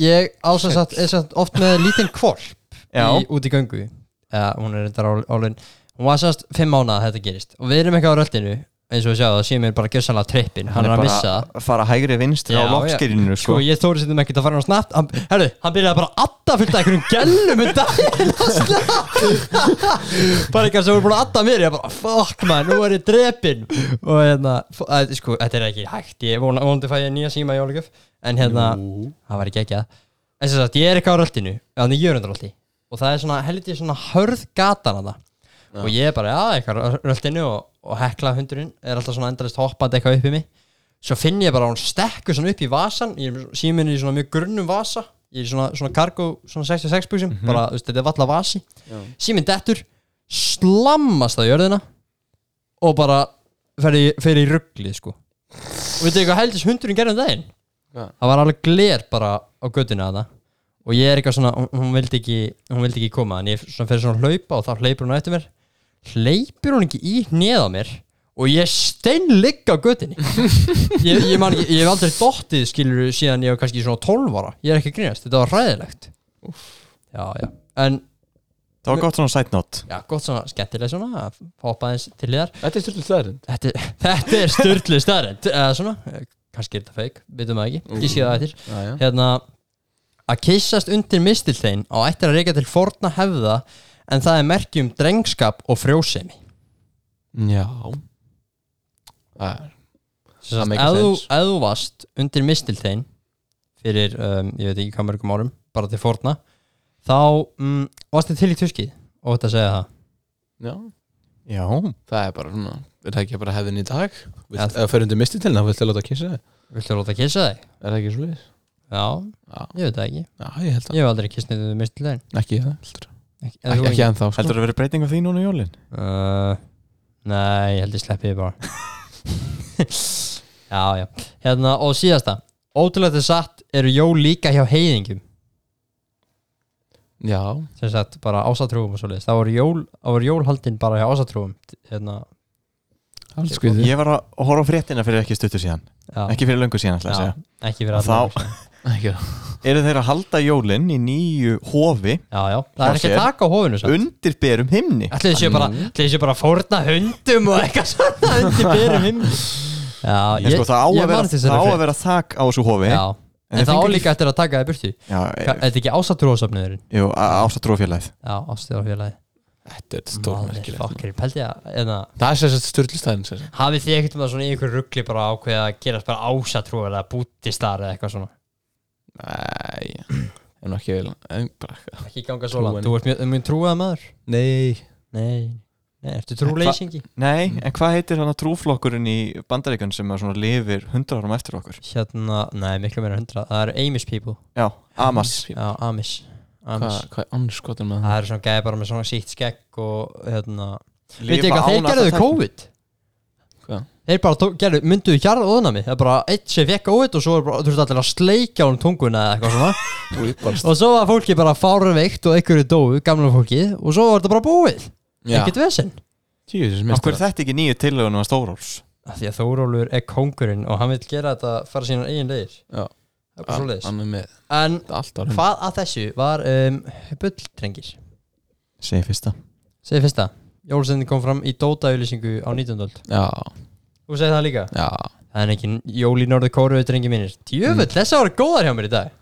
S1: Ég ásætt satt, er satt oft með lítinn kvolp í, út í göngu ja, hún er þetta álun hún var sérst fimm mánuða þetta gerist og við erum eitthvað á röldinu eins og við sjáum það síðan er bara gjössanlega trippin hann, er að
S3: bara
S1: missa það.
S3: að fara hægri vinstri
S1: Já,
S3: á loftskirinu
S1: sko
S3: sko.
S1: ég þóri sétum ekkert að fara hann snabbt hann, herru, hann byrjaði bara að adda fylgta einhverjum gellum um daginn að slá. bara eitthvað sem voru búin að adda mér ég bara fuck man, nú er ég drepin og hérna, f- að, sko, þetta er ekki hægt ég vona- vonandi fæ ég nýja síma í jólugjöf en hérna, það var ekki ekki að en sem sagt, ég er eitthvað á röldinu þannig jörundaröldi og það er svona helviti svona hörð gatan að og ég er bara, já, eitthvað á röldinu og, og hekla hundurinn er alltaf svona endalist hoppandi eitthvað upp í mig svo finn ég bara að hún stekkur svona upp í vasan ég er síminn er í svona mjög grunnum vasa ég er í svona, svona kargo, svona 66 buksum bara, þú veist, þetta er valla vasi síminn dettur, slammast á jörðina og bara fer í, fer í rugglið sko og veitu eitthvað heldis hundurinn gerði um daginn
S2: Já.
S1: það var alveg gler bara á göttinu að það og ég er eitthvað svona, hún, hún vildi ekki hún vildi ekki koma, en ég svona fer svona að hlaupa og þá hleypur hún á eftir mér hleypur hún ekki í hneð á mér og ég steinligg á göttinni ég, ég, man, ekki- ég hef aldrei dottið skilur síðan ég var kannski svona 12 ára ég er ekki að grínast, þetta var ræðilegt já, já, en
S3: Það var gott svona side note
S1: já, gott svona skemmtileg svona að hoppa aðeins til þér
S2: Þetta er stjórnlega þærinn
S1: þetta, þetta er styrlu staðrend eða svona, eh, kannski er þetta feik vitum það ekki, ég sé það eftir
S2: Já, já
S1: hérna að kyssast undir mistilþein á ættir að reyka til forna hefða en það er merkjum drengskap og frjósemi
S2: Já Það er
S1: Sem sagt,
S2: makes
S1: ef þú-
S2: sense.
S1: ef þú varst undir mistiltein fyrir, um, ég veit ekki hvað mörgum árum bara til forna þá mm, varst þið til í tuskið og þetta segja það
S2: Já
S3: Já,
S2: Það er bara svona Er það ekki bara hefðin í dag?
S1: Já.
S2: Vilt- Ef fyrir undir mistið til það, viltu láta að kissa það?
S1: Viltu láta kissa þig?
S2: Er það ekki svo leiðis?
S1: Já,
S2: Já.
S1: ég veit það ekki
S2: Já, ég held
S1: Ég hef aldrei kissnið undir mistiltein
S2: það Ekki það, heldur
S1: Ekki, en
S2: Ekki,
S1: þú
S2: ekki ennþá sko.
S3: heldur það að vera breyting á því núna í jólin?
S1: Uh, nei, ég held ég sleppi því bara Já, já Hérna, og síðasta Ótrúlega þetta satt eru jól líka hjá heiðingjum
S2: Já
S1: sem sagt bara ásatrúum og svoleiðis það voru jól, það voru jólhaldin bara hjá ásatrúum hérna,
S2: Allt skriðið
S3: Ég var að horfa á fréttina fyrir ekki stuttu síðan
S1: já,
S3: Ekki fyrir löngu síðan, ætla að
S1: já,
S3: segja
S1: ekki fyrir
S3: Og
S1: alla
S3: þá-
S2: Ekki
S3: Eru þeir að halda jólinn í nýju hofi
S1: já, já, það er Mm.
S3: Hjá
S1: ekki
S3: sér.
S1: taka á hófinu samt.
S3: undir berum himni
S1: Ætli þið séu bara, ætli þið séu bara að fórna hundum og eitthvað svona undir byrjum himni Já,
S3: En sko, það á að
S1: ég
S3: vera,
S1: man þessari
S3: það á að
S1: frétt.
S3: vera þak á þessu hofi
S1: Já,
S3: En
S1: en, það
S3: þeir
S1: á
S3: fengu-
S1: líka eftir að taka það í burtu
S3: Já,
S1: Hva- Er þetta ekki ásatrúasöfniðurinn?
S3: e- jú, ástatrófélagið
S1: Já, ástjóðarfélagi
S2: Þetta er
S1: Maður,
S2: stórmerkilegt
S1: fokkir, pældi ég að eða,
S2: Það er sérst styrlistæðin sérst
S1: Hafið þið ekkert um það svona í ykkur ruggli bara ákveðið að gerast bara ásatrú eða bútistar eða eitthvað svona
S2: Nei En ekki vel En bara eitthvað
S1: Ekki ganga svo langt
S2: Trúin.
S1: Þú ert mjög, mjög trúað maður
S2: Nei
S1: Nei, Nei ertu trúleysingi?
S3: Nei, en hvað heitir hann trúflokkurinn í bandaríkan sem að svona lifir hundra árum eftir okkur?
S1: Hérna, nei, miklu meira hundra Það eru Amish people
S3: Já, Amas
S1: Já, Amish Amish
S2: Hvað hvað er anskotin með það?
S1: Það eru svona gæði bara með svona sítt skegg og hérna Veit
S3: Lifa
S1: ég hvað,
S3: án
S1: þeir gerðu
S3: alltaf
S1: COVID
S2: Hvað?
S1: Þeir bara tók, gerðu, mynduðu hjarð óðnami Það er bara eitt sem fekk COVID og svo er bara, þú veist allir að sleikja um tunguna eða eitthvað svona
S2: Þú er bara
S1: Og svo var fólki bara fárveikt og einhverju dóu, gamla fólki Og svo var þetta bara búið, ekkert vesinn
S2: Tíu þessi
S3: Af hverju er þetta ekki nýju um tillögunum að Stóróls?
S1: Því að Þórólfur er kóngurinn og hann vil gera þetta fara sína eigin leiðir
S2: Já.
S1: Það er bara svoleiðis
S2: Hann er með
S1: En
S2: allt ára
S1: hvað að þessu var um, bulldrengir
S3: Segir fyrsta
S1: Segði fyrsta, jólsendin kom fram í Dóta-auðlýsingu á 19. öld
S2: Já
S1: Þú segir það líka?
S2: Já
S1: Það er ekki jól í norðu kóru drengi mínir Djöfull, mm. þessar voru góðar hjá mér í dag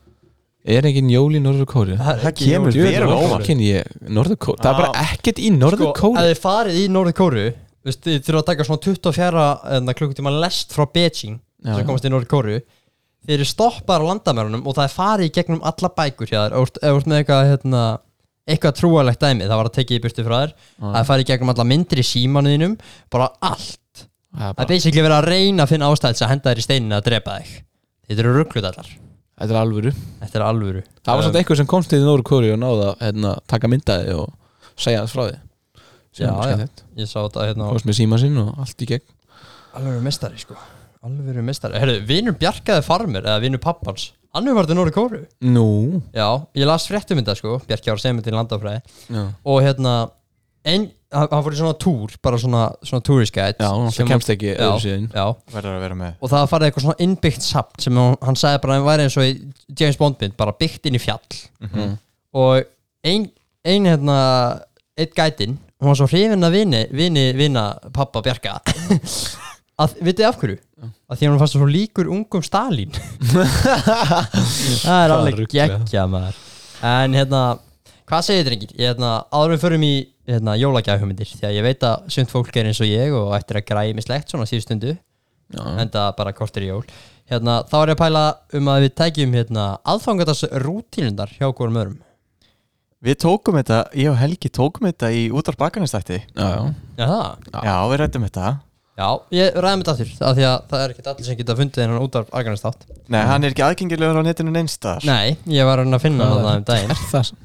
S2: Er engin jól í Norður Kóri?
S1: Það,
S3: ekki kemur jól í verulega Norður-Kóreu. óvart.
S2: Kyn ég Norður Kóri Það er bara ekkert í Norður
S1: Sko,
S2: Kóri
S1: að þið farið í norðu kóru Þið þurfa að taka svona 24 en, hérna, klukkutíma lest frá Beijing
S2: Já.
S1: sem komast í norðu kóru Þið eru stoppar á landamærunum og það er farið í gegnum alla bækur hjá þér Ef þú ert- ef þú ert með eitthvað, hérna, eitthvað trúalegt dæmi það var að tekið í burtu frá þér Það er farið í gegnum alla myndir í símanuðinum bara allt Það er basically verið að reyna að finna ástæðis að henda þér í steininu að drepa þig Þetta eru rugglutallar
S2: Þetta er alvöru
S1: Þetta er alvöru
S2: Það var
S1: Um,
S2: samt eitthvað sem komst til Norður Kóri og náði að hérna, taka myndaði og segja þess frá því
S1: Já,
S2: Sem er
S1: já.
S2: skemmtilegt.
S1: Ég sá þetta hérna á
S2: Komst með síma sinn og allt í gegn
S1: Alvöru mestari sko Alvöru mestari Herru, vinur Bjarkaði farmir eða vinur pappans Annum var þetta Nóri Kóru
S2: Nú
S1: Já, ég las fréttum þetta sko Bjarki var að segja mér til landafræði
S2: Já,
S1: Og hérna En hann hann fór í svona túr Bara svona, svona tourist guide
S2: já hún
S1: sem-
S2: alltaf kemst ekki
S1: já,
S2: öðru síðan
S1: já
S3: Verður að vera með
S1: Og það farið eitthvað svona innbyggt sapt Sem hann, hann sagði bara að væri eins og í James Bondmynd Bara byggt inn í fjall
S2: Mhm.
S1: Og ein, ein hérna Eitt gætin Hún var svo hrifin að vini Vini, vina pappa Bjarka að, Vitið af hverju? Að því að hún fannst svo líkur ungum Stalín Það er
S2: Hvaða
S1: alveg
S2: rugl,
S1: geggja maður En hérna, hvað segir drengir? Ég, hérna, áður en við förum í hérna, jólagjafhumindir Því að ég veit að sumt fólk er eins og ég Og ættir að græja mislegt svona síðustundu
S2: Já,
S1: Enda bara kortir jól hérna, Þá er ég að pæla um að við tækjum hérna, Aðfangatars rútínundar hjá hverjum örum
S3: Við tókum þetta, ég og Helgi tókum þetta í útar bakanistætti
S2: já, já.
S1: Já, það
S3: Já. við rættum þetta
S1: Já, ég ræðum þetta aftur af Því að það er ekkert allir sem geta fundið hennan út af Arganistátt
S3: Nei, hann er ekki aðgengilegur á netinu neinstar
S1: Nei, ég var að reyna að finna
S2: Hvað
S1: hann það um daginn
S2: Er það samt?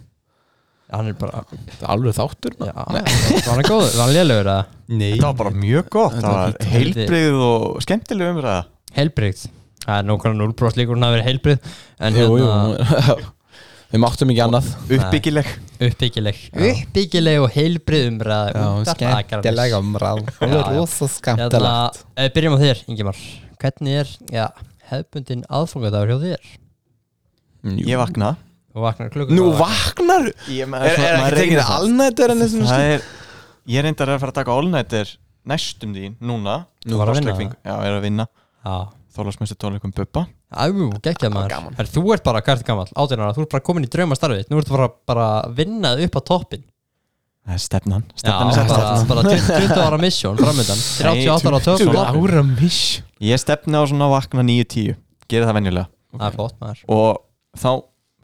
S1: Hann er bara,
S2: Þetta er alveg þáttur
S1: já, var hann góður, var hann lélugur að
S2: Nei
S3: Þetta var bara mjög gott,
S2: Þetta
S3: það
S2: var
S3: var heilbrigð og skemmtileg umræða
S1: Helbrigt Það er nokkara 0% líkur hún að vera helbrigt En
S2: Jú, jú,
S1: hérna
S2: nú- Við máttum ekki annað
S3: Uppbyggileg
S1: uppbyggileg Uppbyggileg og helbrið umræða út af Akranes.
S4: umræð
S1: Já, já.
S4: rosa
S1: Hérna, eh, Byrjum á þér, Ingemar Hvernig er, já, hefbundin aðfangadagur hjá þér?
S2: Jú.
S3: Ég vakna
S1: Þú vaknar klukkum
S2: Nú vaknar
S3: Ég maður
S2: Er,
S3: svona-
S2: er
S3: maður
S2: ekki tekið
S3: reynir það.
S2: allnættur en þessum
S3: Það er, ég reyndar að fara að taka all-nighter næstum því núna
S1: Nú var að vinna
S3: Þorláksleikfing- Já, ég er að vinna
S1: Já
S3: Þorlagsmessu tónleikum Bubba
S1: Æjú, geggjað maður Her, Þú ert bara, hvað ertu gamall, átjánara Þú ert bara komin í draumastarfið Nú ertu bara, bara vinnað upp á toppin
S3: Það er stefnan
S1: Já,
S3: Stefnan er sett
S1: bara,
S3: þarna.
S1: bara 20 ára misjón framöndan 38 ára
S3: Nei, 20
S1: töfum
S3: ára.
S2: Ára miss
S3: Ég stefna á svona að vakna 9-10 Gerið það venjulega
S1: Það er flott maður
S3: Og þá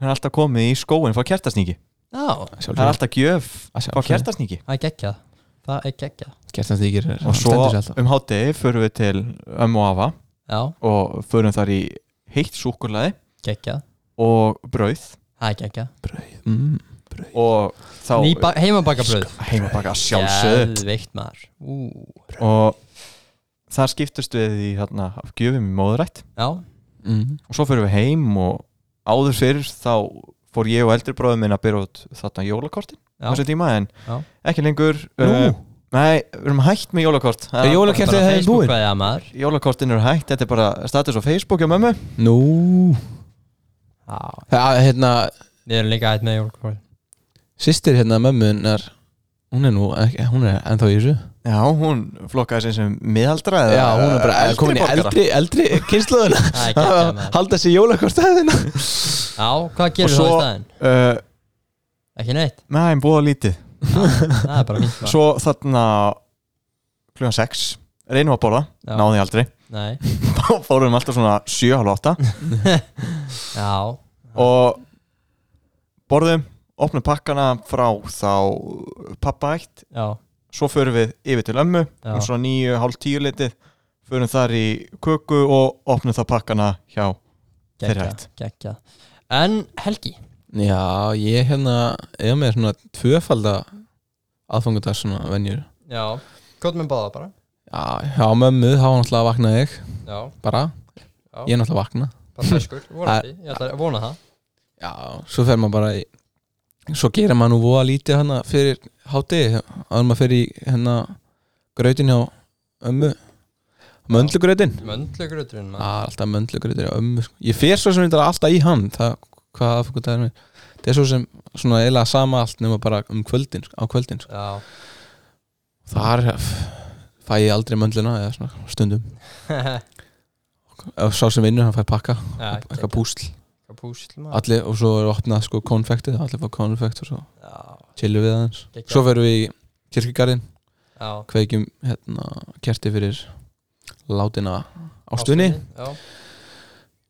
S3: er alltaf komið í skóin Fá kertasningi
S1: Já,
S3: Það er alltaf gjöf
S2: Að sjálfsögðu.
S3: Fá kertasningi
S1: það er geggjað Það er geggjað
S2: Kertanstíkir
S3: Og svo um hátegi förum við til ömmu og afa
S1: Já,
S3: Og förum þar í heitt súkulaði
S1: geggjað
S3: Og brauð
S1: Það er geggjað
S2: mm.
S3: Og þá
S1: Nýba- heimabakabrauð
S3: heimabaka sjálfsög
S1: Geðveikt maður Ú,
S3: Og þar skiptust við í hérna Gjöfum í móðurætt
S1: Já,
S2: mm.
S3: og svo fyrir við heim og áður fyrir þá fór ég og eldri bróðum minn að byrja út þarna jólakortin á
S1: Já.
S3: þessum tíma en
S1: Já.
S3: ekki lengur eh,
S2: Nú?
S3: Nei, við erum hægt með jólakort Það
S2: Er
S3: er
S2: jólakertið
S1: Bara
S2: hefði
S1: Facebook
S2: búin?
S1: hvað ég að maður
S3: bara- Jólakortin eru hægt, þetta er bara status á Facebook hjá mömmu
S2: Nú
S1: Já,
S2: Það, hérna,
S1: við erum líka hægt með jólkvöld
S2: sýstir hérna mömmunar Hún er nú, ekki, hún er ennþá í þessu
S3: Já, hún flokkaði sig sem miðaldra eða
S2: Já, hún er bara
S3: eldri
S2: komin í
S3: borgara.
S2: eldri, eldri kynsluðuna
S1: Það er geggjað, maður.
S2: Halda sér jólakostæðina
S1: Já, hvað gerir
S3: svo-
S1: það í staðinn?
S3: Uh,
S1: Ekki neitt,
S3: Nei, búið lítið
S1: það er bara fínt bara.
S3: Svo þarna klugan 6 reynum að borða,
S1: Já.
S3: náði aldrei
S1: Nei,
S3: fórum alltaf svona 7.30
S1: já,
S3: og borðum, opnum pakkana frá þá pappa eitt
S1: já,
S3: svo förum við yfir til ömmu
S1: Já.
S3: um svona 9, hálf 10 litið förum þar í köku og opnum það pakkana hjá Þeirra
S1: geggjað,
S3: hægt.
S1: geggjað En Helgi,
S2: Já, ég hérna Eða með svona tvöfalda aðfangudag svona venjur
S1: já, hvað með báða bara
S2: Já, já mömmu, þá var náttúrulega að vakna ég
S1: Já,
S2: bara,
S1: já,
S2: ég er náttúrulega að vakna
S1: bara feskur, vonandi, ég ætla að vona það
S2: Já, svo fer maður bara í Svo gerir maður nú voða lítið hana fyrir hátegi, að maður fer í hérna grautin hjá ömmu Möndlugrautin
S1: Möndlugröturinn,
S2: Já,
S1: maður
S2: alltaf möndlugrautin hjá ömmu sko. Ég fer svo sem þetta alltaf í hann það, hvað aðfangudag er mér Það er svo sem svona eiginlega sama allt nema bara um kvöldin, sko, á kvöldin sko.
S1: Já,
S2: Þar f- fæ ég aldrei möndluna eða svona stundum og sá sem vinnur hann fær pakka,
S1: já,
S2: eitthvað púsl
S1: geggjað púsl, maður
S2: allir, og svo er opnað sko konfektið, allir fá konfekt og svo
S1: Já,
S2: chillum við aðeins
S1: Geggjað.
S2: svo ferum við í kirkigarðin
S1: já
S2: kveikjum hérna kerti fyrir látina ástunni
S1: Já,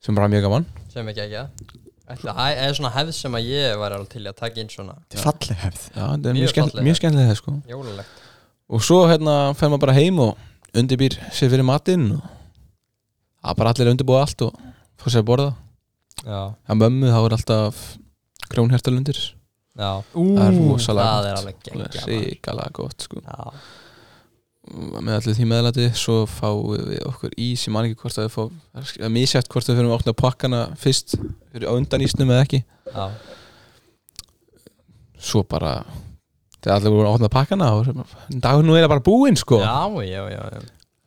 S2: sem bara mjög gaman
S1: sem ekki ekki Það er svona hefð sem að ég var alveg til í að taka inn svona
S3: Þetta er falleg hefð
S2: já, það er
S1: Mjög
S2: mjög, skemmt,
S1: fallega.
S2: mjög skemmtilega það sko
S1: jólalegt
S2: og svo hérna fer maður bara heim og undirbýr sér fyrir matinn og það er bara allir undirbúið allt og fá sér að borða
S1: Já,
S2: að mömmu þá er alltaf grjónhertalundir
S1: já
S2: það er
S1: Það
S2: rosalega
S1: er
S2: gott.
S1: alveg geggjað maður.
S2: síkala gott sko
S1: Já,
S2: með allir því meðlæti svo fáum við okkur ís ég man ekki hvort að við fáum það er misjætt hvort við fyrir að opna pakkana fyrst fyrir á undan ísnum eða ekki
S1: já,
S2: svo bara þegar allir voru að opna pakkana þá var sem- dagur nú er bara búinn sko
S1: já, já, já, já.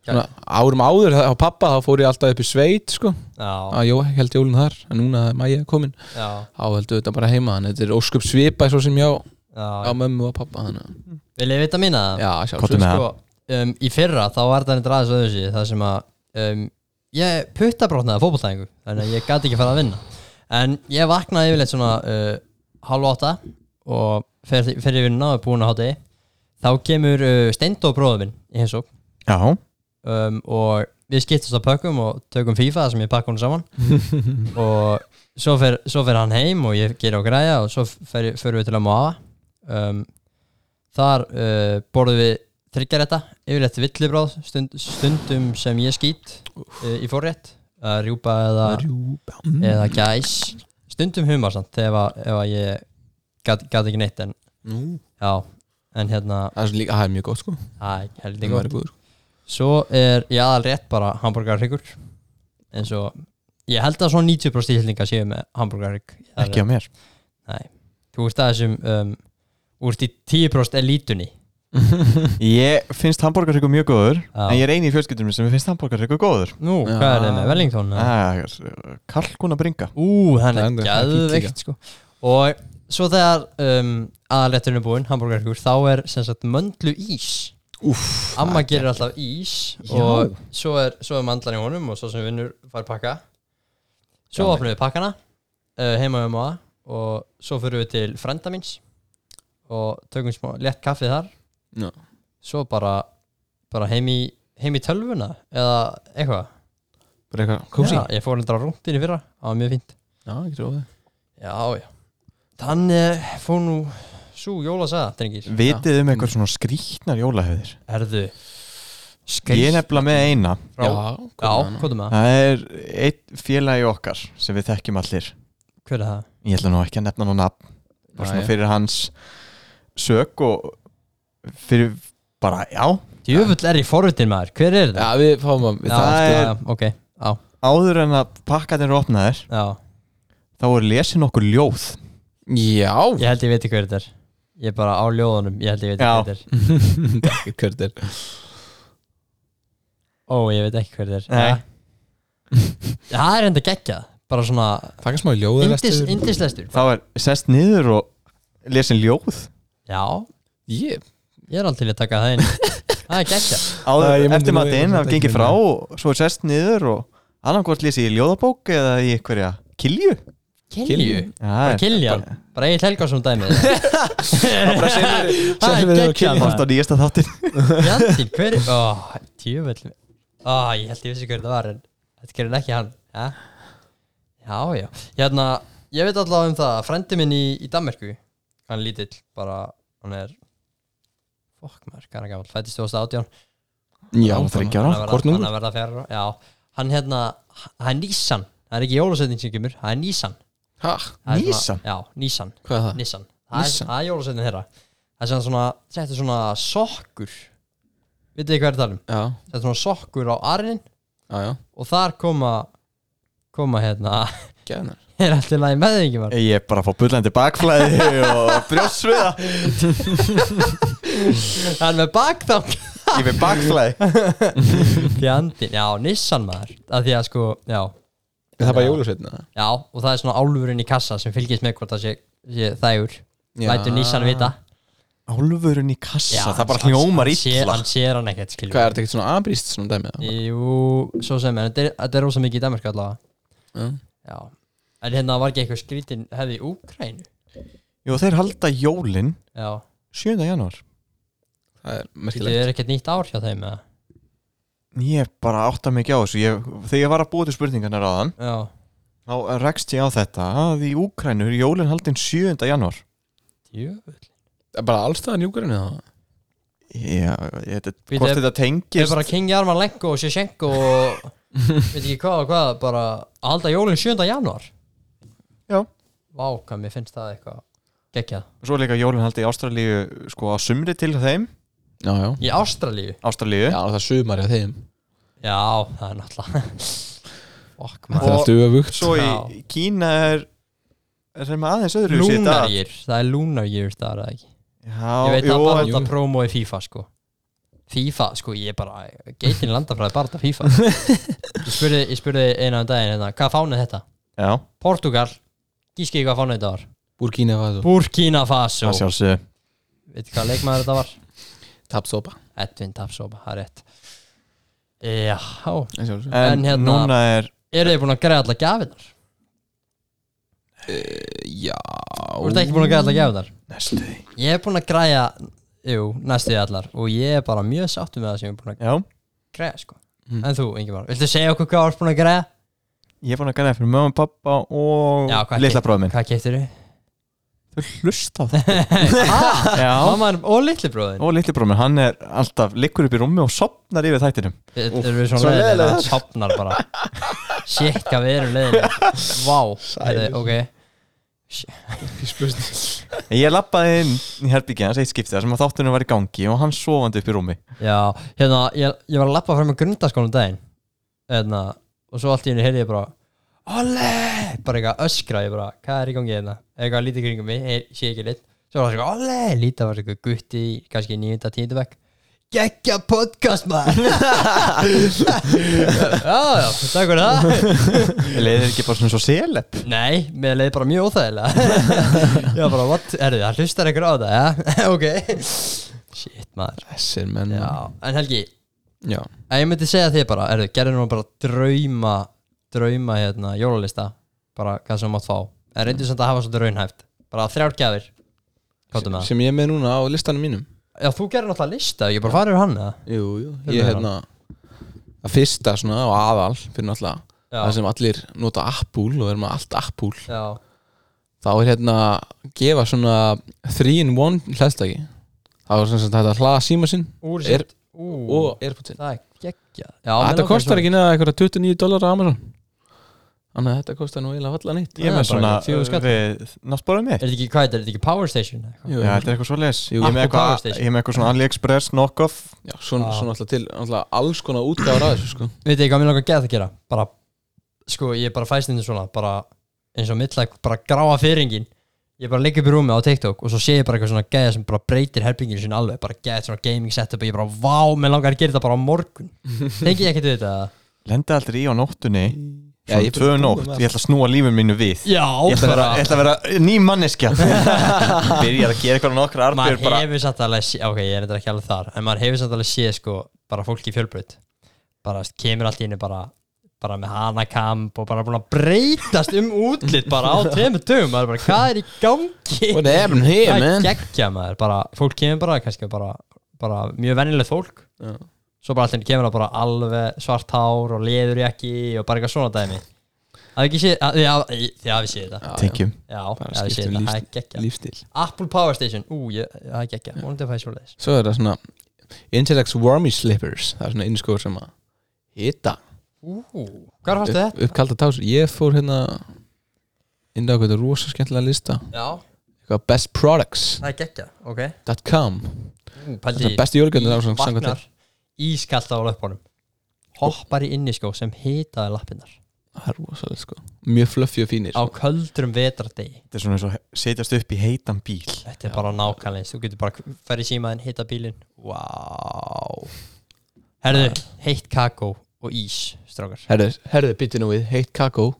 S2: Svona, árum áður á pappa þá fór ég alltaf upp í sveit sko
S1: Já,
S2: að jó, held jólun þar en núna er mæja komin
S1: já,
S2: þá heldur þetta bara heima þannig að þetta er ósköp svipa svo sem já á
S1: já
S2: mömmu og pappa þannig að-
S1: Vil ég vita mína það?
S2: já
S3: Komdu
S2: sjálfsög
S3: með
S1: sko, um, Í fyrra þá var það neitt aðeins öðuðsí Það sem að um, Ég puttabrotnaði fótbolltæðingu Þannig að ég gæti ekki fara að vinna En ég vaknaði yfirleitt svona uh, Hálf átta Og fer, fer ég vinna og er búin að hátti Þá kemur uh, Steindó bróður minn Í hins og
S3: Já,
S1: um, Og við skiptast á pökkum og tökum FIFA þar sem ég pakka hún saman Og svo fer, svo fer hann heim Og ég ger á græja Og svo fer, fer við til að máa um, Þar uh, borðum við þryggjaretta, yfirleitt villibráð stund, stundum sem ég skýt uh, í forrétt, að rjúpa eða,
S2: rjúpa mm.
S1: eða gæs stundum humar samt, ef, að, ef að ég gat, gat ekki neitt en
S2: Nú.
S1: já, en hérna
S2: það er svo líka- það er mjög gott sko
S1: æ, heldig
S2: það
S1: gott
S2: er góður
S1: svo er ég aðal rétt bara hambúrgarhryggur eins og ég held að svona 90% stílninga séu með hambúrgarhrygg
S3: ekki á mér
S1: þú veist að þessum um, úr því 10% elítunni
S3: Ég finnst hambúrgarryggur mjög góður
S1: Já.
S3: en ég er eini í fjölskyldunum sem finnst hambúrgarryggur góður Ah,
S1: nú,
S2: Já.
S1: hvað er þeim með Wellington? eða?
S3: Kalkuna bringa
S1: Ú, hann
S2: Það
S1: er
S2: er enda- það er fínt
S1: gæðveikt sko. Og svo þegar um, aðalétturinn er búinn, hambúrgarkur Þá er sem sagt möndlu ís Úff, Amma gerir alltaf ís Og svo er, svo er mandlan í honum Og svo sem vinnur fær pakka Svo opnum við pakkana uh, Heima um aða Og svo fyrir við til frenda míns Og tökum smá létt kaffið þar
S2: Já.
S1: Svo bara, bara heim, í, heim í tölvuna Eða eitthvað
S2: bara eitthvað kósi
S1: Já, Ég fór hendra rúntin í fyrra, það var mjög fínt
S2: já ekki tróðið
S1: Já, já Þannig eh, fór nú svo jólasaga, drengir
S3: Vitið um eitthvað svona skrýtnar jólahefðir
S1: Herðu
S3: Ég er nefnilega með eina
S1: frá Já,
S2: Já,
S1: hvað er það?
S3: Það er einn félagi okkar sem við þekkjum allir
S1: Hver er það?
S3: Ég ætla nú ekki að nefna nú nafn bara svona fyrir hans sök og fyrir bara, já,
S1: Djöfull er í forvitin maður, hver er það?
S2: Já, við fáum að við
S1: já,
S2: það
S3: það
S1: já,
S3: er-
S1: já, ok, já,
S3: áður en að pakkaðin eru opnaðir
S1: já
S3: þá voru lesin okkur ljóð
S4: Já
S1: Ég held ég veit hver þetta er Ég er bara á ljóðunum, ég held ég veit
S3: Já.
S1: hver þetta er
S4: Hvert er
S1: Ó, ég veit ekki hver þetta er
S3: Nei.
S1: Ja. Það er enda geggjað Bara svona
S4: Takk smá ljóðalestur
S1: indis, indislestur
S3: Þá er sest niður og lesin ljóð
S1: Já,
S4: Ég
S1: ég er aldrei að taka það inn Það er geggjað
S4: Æ, ég
S3: Áður
S4: myndi nú
S3: eftir
S4: eiga
S3: matinn,
S4: samt
S3: það
S4: ekki
S3: gengið
S4: minna.
S3: frá og svo er sest niður og annarkvort lesi í ljóðabók eða í einhverja kilju
S4: Kilju
S1: Bara Kiljan, bara Egil Helgarsson dæmi Það er
S4: Silfur og
S1: geggjað
S3: Allt á
S1: maður.
S3: nýjasta þáttin
S1: Jandi, hver Ó, tjöfell Ó, ég held ég vissi hver þetta var en þetta gerir ekki hann ja? Já, já Hérna, ég veit allavega um það Frendi minn í, í Danmerku Hann er lítill, bara, hann er Fokk maður, hvað er hann gamall Fættist 2018
S4: Já
S3: Hann var þriggja
S1: Hann er
S4: þannig.
S3: ára.
S1: að verða-
S4: Hvort nú
S1: hann er að verða fjara Já, hann hérna, það er Nissan Það er ekki jólasetning sem kemur, það er Nissan
S4: Ha,
S1: Það er svona-
S3: Nissan?
S1: Já, Nissan
S4: hvað
S2: Ah,
S4: er það?
S1: Nissan Það er-
S4: Nissan?
S1: það er jólasetning þeirra Það er sem svona, þetta er svona sokkur Vitið þið hvað er að tala um?
S4: Já,
S1: Þetta er svona sokkur á arinn
S4: já, já
S1: Og þar koma Koma hérna
S4: Gæðnar
S1: Er allt í lagi með þig ekki var
S3: Ég er bara að fá bullandi bakflæði og brjósviða
S1: Það er með bakþang
S3: Ég veit bakflæði
S1: Fjandinn, já, Nissan maður Að því að sko, já
S4: Það er bara
S1: Já.
S4: jólusveitna
S1: Já, og það er svona álfurinn í kassa sem fylgist með hvort það sé, sé þægur Lætur Nissan vita
S3: Álfurinn í kassa,
S1: Já,
S3: það bara
S1: hann-
S3: hljómar
S1: hann sér-
S3: illa
S1: Hann sér hann ekkert, skiljum
S4: Hvað er þetta ekkert svona ambríst svona dæmi? eða?
S1: Jú, svo sem, en þetta er- þetta er rosa mikið í Danmarku allavega
S4: Já.
S1: Já En hérna var ekki eitthvað skrítin hefði í Úkrænu
S3: Jú, þeir halda jólin
S1: Já,
S3: 7. janúar
S4: Það er
S1: þetta
S4: merkilegt
S1: er ekkert nýtt ár hjá þeim eða?
S3: Ég bara átta mikið á þessu ég, Þegar ég var að búa til spurningarnar á þann
S1: Já,
S3: þá rekst ég á þetta að í Úkrænur jólin haldin 7. janúar
S1: djöfull
S4: Það er Bara allstaðan júkurinn eða?
S3: Já, ég, þetta,
S1: Bíddu,
S3: hvort
S1: Ég
S3: þetta
S1: er
S3: tengist
S1: bara King Jarman Lenko og Sjashenko og veit ekki hvað og hvað bara að halda jólinn 7. janúar
S3: Já.
S1: Vá, hvað mér finnst það eitthvað geggjað
S3: Svo er líka jólin haldi í Ástralíu sko á sumri til þeim
S4: Já, já
S1: Í Ástralíu
S3: Ástralíu
S4: Já, það er sumar hjá þeim
S1: Já, það er náttúrulega Fuck
S4: Það er
S1: maður
S3: Og-
S4: allt öfugt
S3: Svo í
S1: Já.
S3: Kína er er þeim aðeins öðru
S1: Lunar year, það er lunar year það er það ekki Ég
S3: Já,
S1: veit
S3: jú,
S1: það bara
S3: en-
S1: alltaf promo í FIFA sko FIFA, sko, ég er bara geitin landafræði bara þetta FIFA ég, spurði, ég spurði eina um daginn hérna, hvað fánið þetta?
S3: já,
S1: Portugal, gíski hvað fánið þetta var
S4: Burkina var þú
S1: Burkina Faso
S3: það sjálfsög
S1: veit hvað leikmaður þetta var?
S4: Tapsopa
S1: Edwin Tapsoba, það er rétt E, Já,
S4: Ég
S3: En,
S1: En hérna-
S3: núna er
S1: eru þið búin að greiða allar gjafinnar?
S4: Já
S1: Þú ert ekki búin að greiða allar gjafinnar?
S3: Næstu því
S1: Ég er búin að græja, jú, næstu því allar og ég er bara mjög sáttu með það sem ég er búin að
S3: Já,
S1: græja sko
S4: Mm.
S1: En þú, Ingi Már, viltu segja okkur hvað þú ert búin að græja?
S3: ég er búin að gæna fyrir mömmu, pappa og
S1: Já, hvað
S3: litla
S1: keypt-
S3: bróðum minn
S1: Hvað getur þið?
S3: Þau hlusta á það
S1: Ah!
S3: Já,
S1: Mamma og litli bróðin
S3: og litli bróðum minn, hann er alltaf liggur upp í rúmi og sopnar yfir þættinum
S1: Þetta eru við svona
S3: Svo
S1: leðilega
S3: leiðilegar.
S1: Það sopnar bara Shit, hvað við erum leðilega Vá, þetta er ok
S3: Ég lappaði inn í herbyggi hans eitt skiptið þar sem að þáttunum var í gangi og hann sofandi upp í rúmi
S1: Já, hérna, ég, ég var að lappa fram með grundaskólanum um daginn Hérna, og svo allt í henni heyrði ég bara Olle, bara eitthvað öskra Ég bara, hvað er í gangi hérna Eitthvað lítið kringum mig, heyr, sé ekki lit Svo var það eitthvað, olle, lítið var eitthvað gutti í Kannski nýjunda tíndabæk Gekja podcast maður Já, já, takk fyrir það
S3: Leðir ekki bara svona svo seleb
S1: Nei, mér leiði bara mjög óþægilega Ég var bara, what, erðu það, hlustar einhver á það, já, ok Shit, maður
S4: Þessir menn
S1: Já, en Helgi,
S4: Já
S1: ef ég myndi segja þig bara, erðu, gerðu nú bara drauma Drauma, hérna, jólalista Bara, hvað sem þú mátt fá En reyndu samt að hafa svolítið raunhæft Bara þrjár gjafir Káttu með það
S4: Sem ég er með núna á listanum mínum
S1: Já, þú gerði náttúrulega lista, ég bara farið yfir hann, eða?
S4: Jú, jú
S1: Fyrir
S4: Ég
S1: með
S4: hérna Það fyrsta svona og aðal Fyrir náttúrulega
S1: Já.
S4: Það sem allir nota Apple Og er með allt Apple
S1: Já,
S4: Þá er hérna Gefa svona 3 in 1 hlæðstæki Það var sem sagt hægt að hlaða síma sinn
S1: úr
S4: Er-
S1: sitt Ú,
S4: Og AirPods-in
S1: það er geggja
S4: Þetta kostar ekki neða eitthvað 29 dólar á Amazon Þannig að þetta kostar nú eiginlega vallan nýtt
S3: Ég er
S1: Það er
S3: með
S1: bara
S3: svona
S1: ekki fjögur skall.
S3: við náttbóðum
S1: Er
S3: mitt
S1: þetta ekki, hvað er þetta, er þetta ekki Power Station? eða eitthvað?
S3: Já, þetta er eitthvað svo les
S4: Jú.
S3: Ég er með
S1: Apple Power
S3: eitthvað
S1: Station.
S3: ég er með eitthvað svona AliExpress knockoff
S4: Já, svona,
S1: Já.
S4: svona alltaf til alltaf alls konar útgáður að þessu sko
S1: veit ekki hvað mér langar að geða það gera bara, sko, ég bara fæst inn í svona bara, eins og mittlæk, bara gráa fyrringin Ég bara ligg upp í rúmi á TikTok og svo sé ég bara eitthvað svona gæða sem bara breytir herpinginu sinni alveg bara gæða svona gaming setup og ég bara vá, mér langar að gera þetta bara á morgun Tengi ég ekkert við þetta?
S3: Lendi aldrei í á nóttunni
S2: Já,
S3: Svona
S2: ég-
S3: tvö um nótt, ég ætla að snúa lífið mínu við
S1: Já,
S3: Ég ætla að vera, ég ætla að vera ný manneskja Byrjar að gera eitthvað nokkra
S1: maður
S3: arbjör bara
S1: hefur samt alveg sé- ok, ég er þetta ekki alveg þar en maður hefur samt alveg séð sko bara fólk í fjölbraut bara veist, kemur allt í henni bara bara með hanakamp og bara búin að breytast um útlit bara á trefnum dögum maður er bara, hvað er í gangi
S2: What happened here,
S1: það er
S2: man?
S1: geggja maður bara, fólk kemur bara, kannski bara, bara mjög venjulegt fólk
S2: Já.
S1: svo bara allt í henni kemur það bara alveg svart hár og leður jakki og bara eitthvað svona dæmi það er ekki séð, að- já, því að við séð þetta
S3: Tengjum
S1: já,
S2: Bara
S1: já, við séð þetta, það
S2: skiptum lífstíl.
S1: er geggja
S2: Lífstíl
S1: Apple Power Station, ú, ég, það er geggja vonandi að fæði svo leiðis
S2: Svo er það svona Interlex Warmy Slippers Það er svona innskóður sem að Hita
S1: Ú, hvað fannst þetta?
S2: upp, upp kalda tás Ég fór hérna Inn á eitthvað rosa skemmtilega lista
S1: Já,
S2: Eitthvað bestproducts.com
S1: það er geggja, ok Ú,
S2: Þetta
S1: Pældi,
S2: er bestu jólugjöndin á svona samkvæmt
S1: vaknar ískallt á löpunum Hoppar í inniskó sem hitaði lappinnar
S2: Það er rosalega sko Mjög fluffy og fínir sko.
S1: Á köldrum vetardegi
S3: Þetta er svona eins og he- setjast upp í heitan bíl
S1: Þetta er bara nákvæmlega eins, þú getur bara ferð í símaðin, hita bílinn Vá Herðu, heitt kakó og ís, strákar
S2: Herðu, herðu, bytti nú við Heitt kakó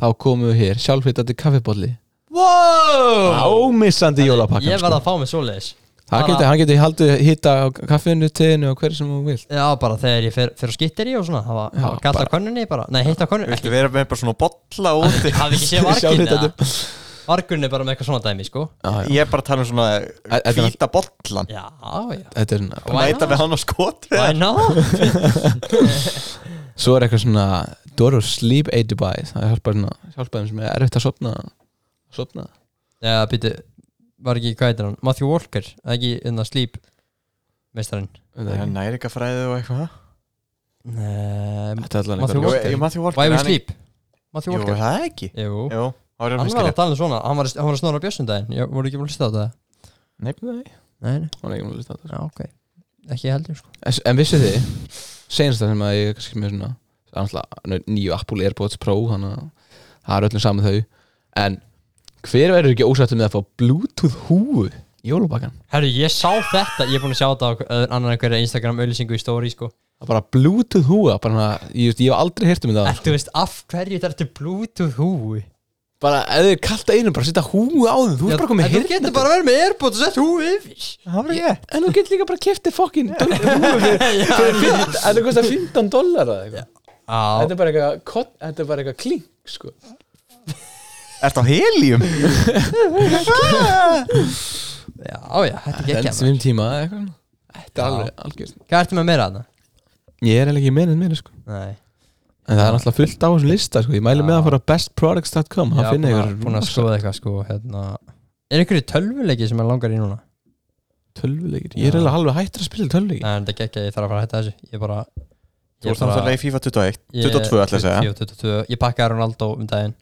S2: Þá komum við hér Sjálfhittandi kaffibólli
S1: Wow
S2: Ámissandi jólapakkan
S1: Ég
S2: sko.
S1: verð að fá mig svoleiðis
S2: Það
S1: bara-
S2: geti, hann geti haldið hitta á kaffinu, teginu og hverju sem hún vil
S1: Já, bara þegar ég fer, fer og skittir í og svona Það var,
S2: Já,
S1: var galt á könnunni bara Nei, heitt á könnunni
S3: Viltu vera með bara svona bolla úti
S1: hafði ekki séð
S2: Sjá
S1: vargin
S2: þetta
S1: eða vargurinn er bara með eitthvað svona dæmi sko
S2: Já, já.
S3: Ég er bara að tala um svona
S2: Þetta er-
S3: hvíta bollan
S1: já, já
S2: Þetta er svona
S1: Why
S3: Mæta
S1: not?
S3: með hann á skot
S1: Why not?
S2: Svo er eitthvað svona Doro Sleep Aid Dubai Það hjálpar svona Hjálpar þeim sem er erfitt að sopna Sopna
S1: já, býtu var ekki, hvað heitir hann? Matthew Walker Það er ekki hérna, innan slíp meistarinn
S3: Nærikafræði og eitthvað
S1: Nei,
S2: Þetta er allan
S1: Matthew
S2: eitthvað
S3: Jú,
S1: Walker.
S3: ég Matthew Walker
S1: Why we
S3: hann-
S1: sleep? Matthew
S3: Jú,
S1: Walker
S3: það er ekki
S1: Jú,
S3: Jú, það er
S1: hann var að tala um svona Hann var, hann var að snora bjössundaginn Ég voru ekki búin að hlusta á þetta
S3: Nei,
S1: Nei, nei,
S2: Hún er ekki múlið þetta
S1: já, ok Ekki heldur sko
S2: En, en vissu þið Seinast það sem að ég er kannski með svona Það er náttúrulega nýju Apple Airpods Pro Þannig að það er öllum saman þau En hver verður ekki ósættu með að fá Bluetooth húu í Jólabakkan
S1: Herru, ég sá þetta Ég er búin að sjá þetta á ö- annan einhverja Instagram auðlýsingu í story sko
S2: Það er bara Bluetooth húa bara, svona- ég, ég hef aldrei heyrt um þetta áður.
S1: Ertu veist af hverju þetta er Bluetooth húi?
S2: Bara ef þið kallt að einum bara setja húu á þig Þú er bara hérna komið
S1: En þú getur bara verið með Airpods og sett húi yfir
S3: það var ég
S2: En þú getur líka bara kæftið fokkin húu fyrir, fyrir fyrir, En þú kostar 15 dólar Þetta
S1: Á,
S2: er bara eitthvað kott- Þetta er bara eitthvað klink sko.
S3: Ertu á helium?
S1: já, já, þetta er
S2: Þetta er
S1: geggja
S2: svim tíma eða eitthvað. Þetta er alveg algjörn
S1: Hvað ertu með meira þarna?
S2: Ég er eiginlega ekki mennið mér sko.
S1: Nei
S2: En það er alltaf fullt á þessum lista sko. Ég mæli með að fara á bestproducts.com
S1: Ég
S2: Það
S1: var
S2: finna
S1: búin að-
S2: ykkur
S1: búin að skoða eitthvað sko hérna Er einhverju tölvuleiki sem er langar í núna?
S2: sko- tölvuleikir Ég er eiginlega alveg hættur að spila tölvuleikir
S1: Nei, en þetta geggja, ég þarf að fara að hætta þessu Ég bara
S3: Þú ert náttúrulega í FIFA 21 22 ætla ég að segja Oh.
S1: 22, ég pakkaði Ronaldo um daginn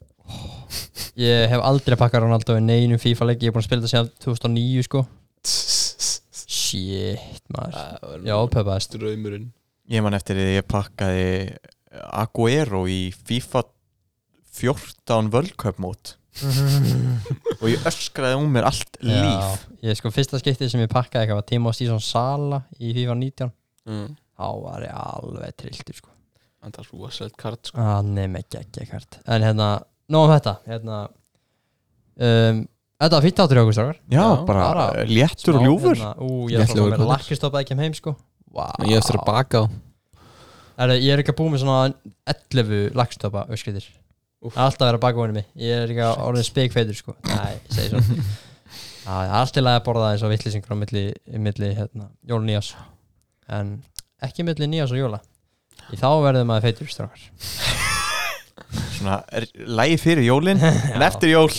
S1: Ég hef aldrei pakkað Ronaldo í neinum FIFA-leiki Ég er búin að spila þetta síðan 2009 sko Shit, maður Já, peppaðist
S2: Ströymurinn
S3: Ég man eftir því að ég pakkaði Aguero í FIFA 14 völköp mót og ég öskraði um mér allt líf
S1: Já, ég sko fyrsta skiptið sem ég pakkaði eitthvað var Timo Stíson Sala í FIFA 19
S2: mm.
S1: þá var ég alveg trilltur sko
S2: Andars rosalegt kart sko.
S1: að nefn ekki ekki hvert en hérna, nóg um þetta hérna um, þetta var fýtt áttur hjá okkur strákar
S3: Já,
S2: Já,
S3: bara,
S1: bara
S3: léttur og
S1: Smá,
S3: ljúfur
S1: hérna, ú, ég er
S2: Léttlegur
S1: svona með
S2: köttur.
S1: lakkistoppa ekki heim sko wow.
S2: Ég eftir að baka á
S1: Herru, ég er ekki að búið með svona 11 lakkistoppa öskritir
S2: Úff.
S1: alltaf verið að baka vonið mig ég er ekki að orðin spekfeitur sko nei, ég segi svona Já, það er allt í lagi að borða eins og vittlisingur á milli, milli hérna, jól og nýjás en ekki milli nýjás og jóla í þá verðum maður feitur strákar
S3: svona, er, lægi fyrir jólin en eftir jól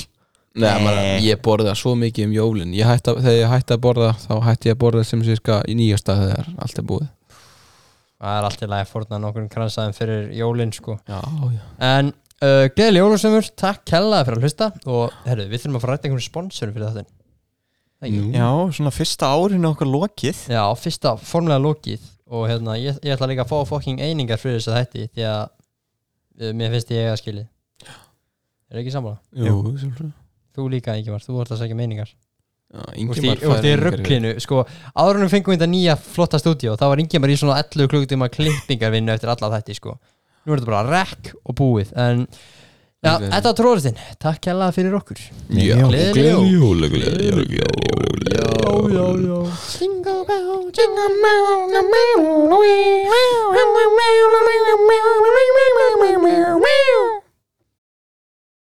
S2: Nei,
S3: Nei.
S2: maður, ég borða svo mikið um jólin ég hætta, Þegar ég hætti að borða þá hætti ég að borða sem sérska í nýjasta þegar allt er búið
S1: það er allt í lagi að forna nokkur kransaðum fyrir jólin sko.
S2: Já, já
S1: en uh, gleðileg jólusumur, takk kellaði fyrir að hlusta og herru, við þurfum að fara að ræta einhvern sponsorum fyrir þetta
S2: Nú.
S3: Já, svona fyrsta árinu okkar lokið
S1: Já, fyrsta formlega lokið og hérna, ég, ég ætla líka að fá fokking einingar fyrir þess að eh, þetta því að uh, mér finnst ég eiga skilið Er ekki sammála?
S2: Jú, sjálfsögðu.
S1: Þú líka Ingimar, þú vart að um segja meiningar Þú ert
S2: Ingimar
S1: í- þú ert í rugglinu, sko Áðurinnum fengum við þetta nýja flotta stúdíó Þá var Ingimar í svona 11 klukkutíma klippingarvinnu eftir alla þetta, sko Nú er þetta bara rekk og búið En, já,
S2: Gleðileg.
S1: þetta var tróðurstinn Takk kjalla fyrir okkur
S2: Já,
S1: Gleðileg
S2: gleðileg jól,
S1: Gleðileg
S2: gleðileg jól, gleðileg jól.
S1: já
S4: Jingle bell, jingle bell, jingle bell, jingle bell, jingle bell, jingle bell.